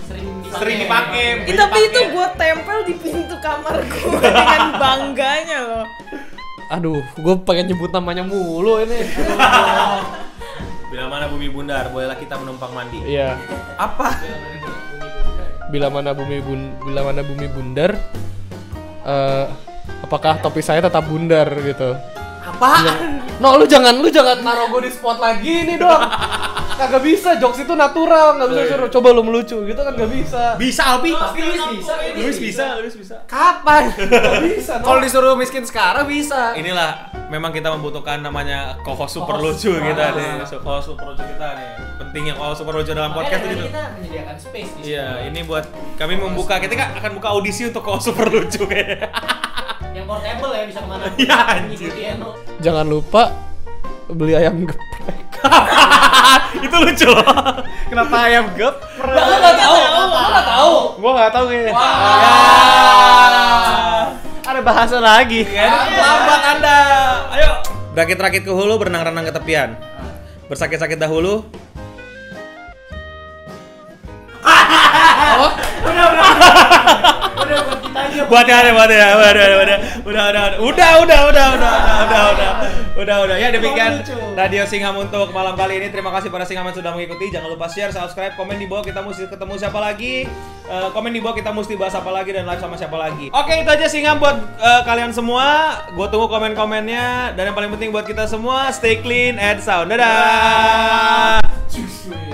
S4: Sering dipakai.
S2: sering dipakai
S5: Ih, tapi itu
S4: ya?
S5: gue tempel di pintu kamar gue dengan bangganya loh
S8: Aduh, gue pengen nyebut namanya mulu ini.
S2: bila mana bumi bundar bolehlah kita menumpang mandi
S8: Iya.
S2: apa
S8: Bila mana bumi bun, bila mana bumi bundar, eh, apakah topi saya tetap bundar gitu?
S2: apa
S8: No, lu jangan, lu jangan naruh gue di spot lagi nih dong. Kagak bisa, jokes itu natural, nggak bisa suruh coba lu melucu gitu kan nggak bisa.
S2: bisa Alpi
S8: Pasti lu bisa,
S2: Luis bisa Luis bisa
S8: Kapan? Nggak bisa.
S7: Kalau disuruh miskin sekarang bisa.
S2: inilah memang kita membutuhkan namanya koko super lucu kita nih koko super lucu kita nih pentingnya koko super lucu dalam podcast itu gitu
S4: kita menyediakan space di
S2: Iya, ini buat kami membuka kita kan akan buka audisi untuk koko super lucu kayaknya.
S4: yang portable ya bisa kemana
S2: Iya, anjir.
S8: Jangan lupa beli ayam geprek.
S2: itu lucu loh.
S11: Kenapa ayam gep?
S8: Lu nggak tahu, lu nggak tahu.
S11: Gua nggak tahu kayaknya. Ada bahasa lagi.
S2: Iya, Lambat Anda. Ayo. Rakit-rakit ke hulu, berenang-renang ke tepian. Bersakit-sakit dahulu.
S4: udah buat kita aja
S2: buat ya, buat ya, buat ya, buat ya. Udah, udah, udah, udah, udah, udah, udah, udah, udah, udah, udah. Ya demikian Radio Singham untuk malam kali ini. Terima kasih para Singhaman sudah mengikuti. Jangan lupa share, subscribe, komen di bawah kita mesti ketemu siapa lagi. Eh, komen di bawah kita mesti bahas apa lagi dan live sama siapa lagi. Oke, itu aja Singham buat eh, kalian semua. Gue tunggu komen-komennya dan yang paling penting buat kita semua stay clean and sound. Dadah.
S3: Justru.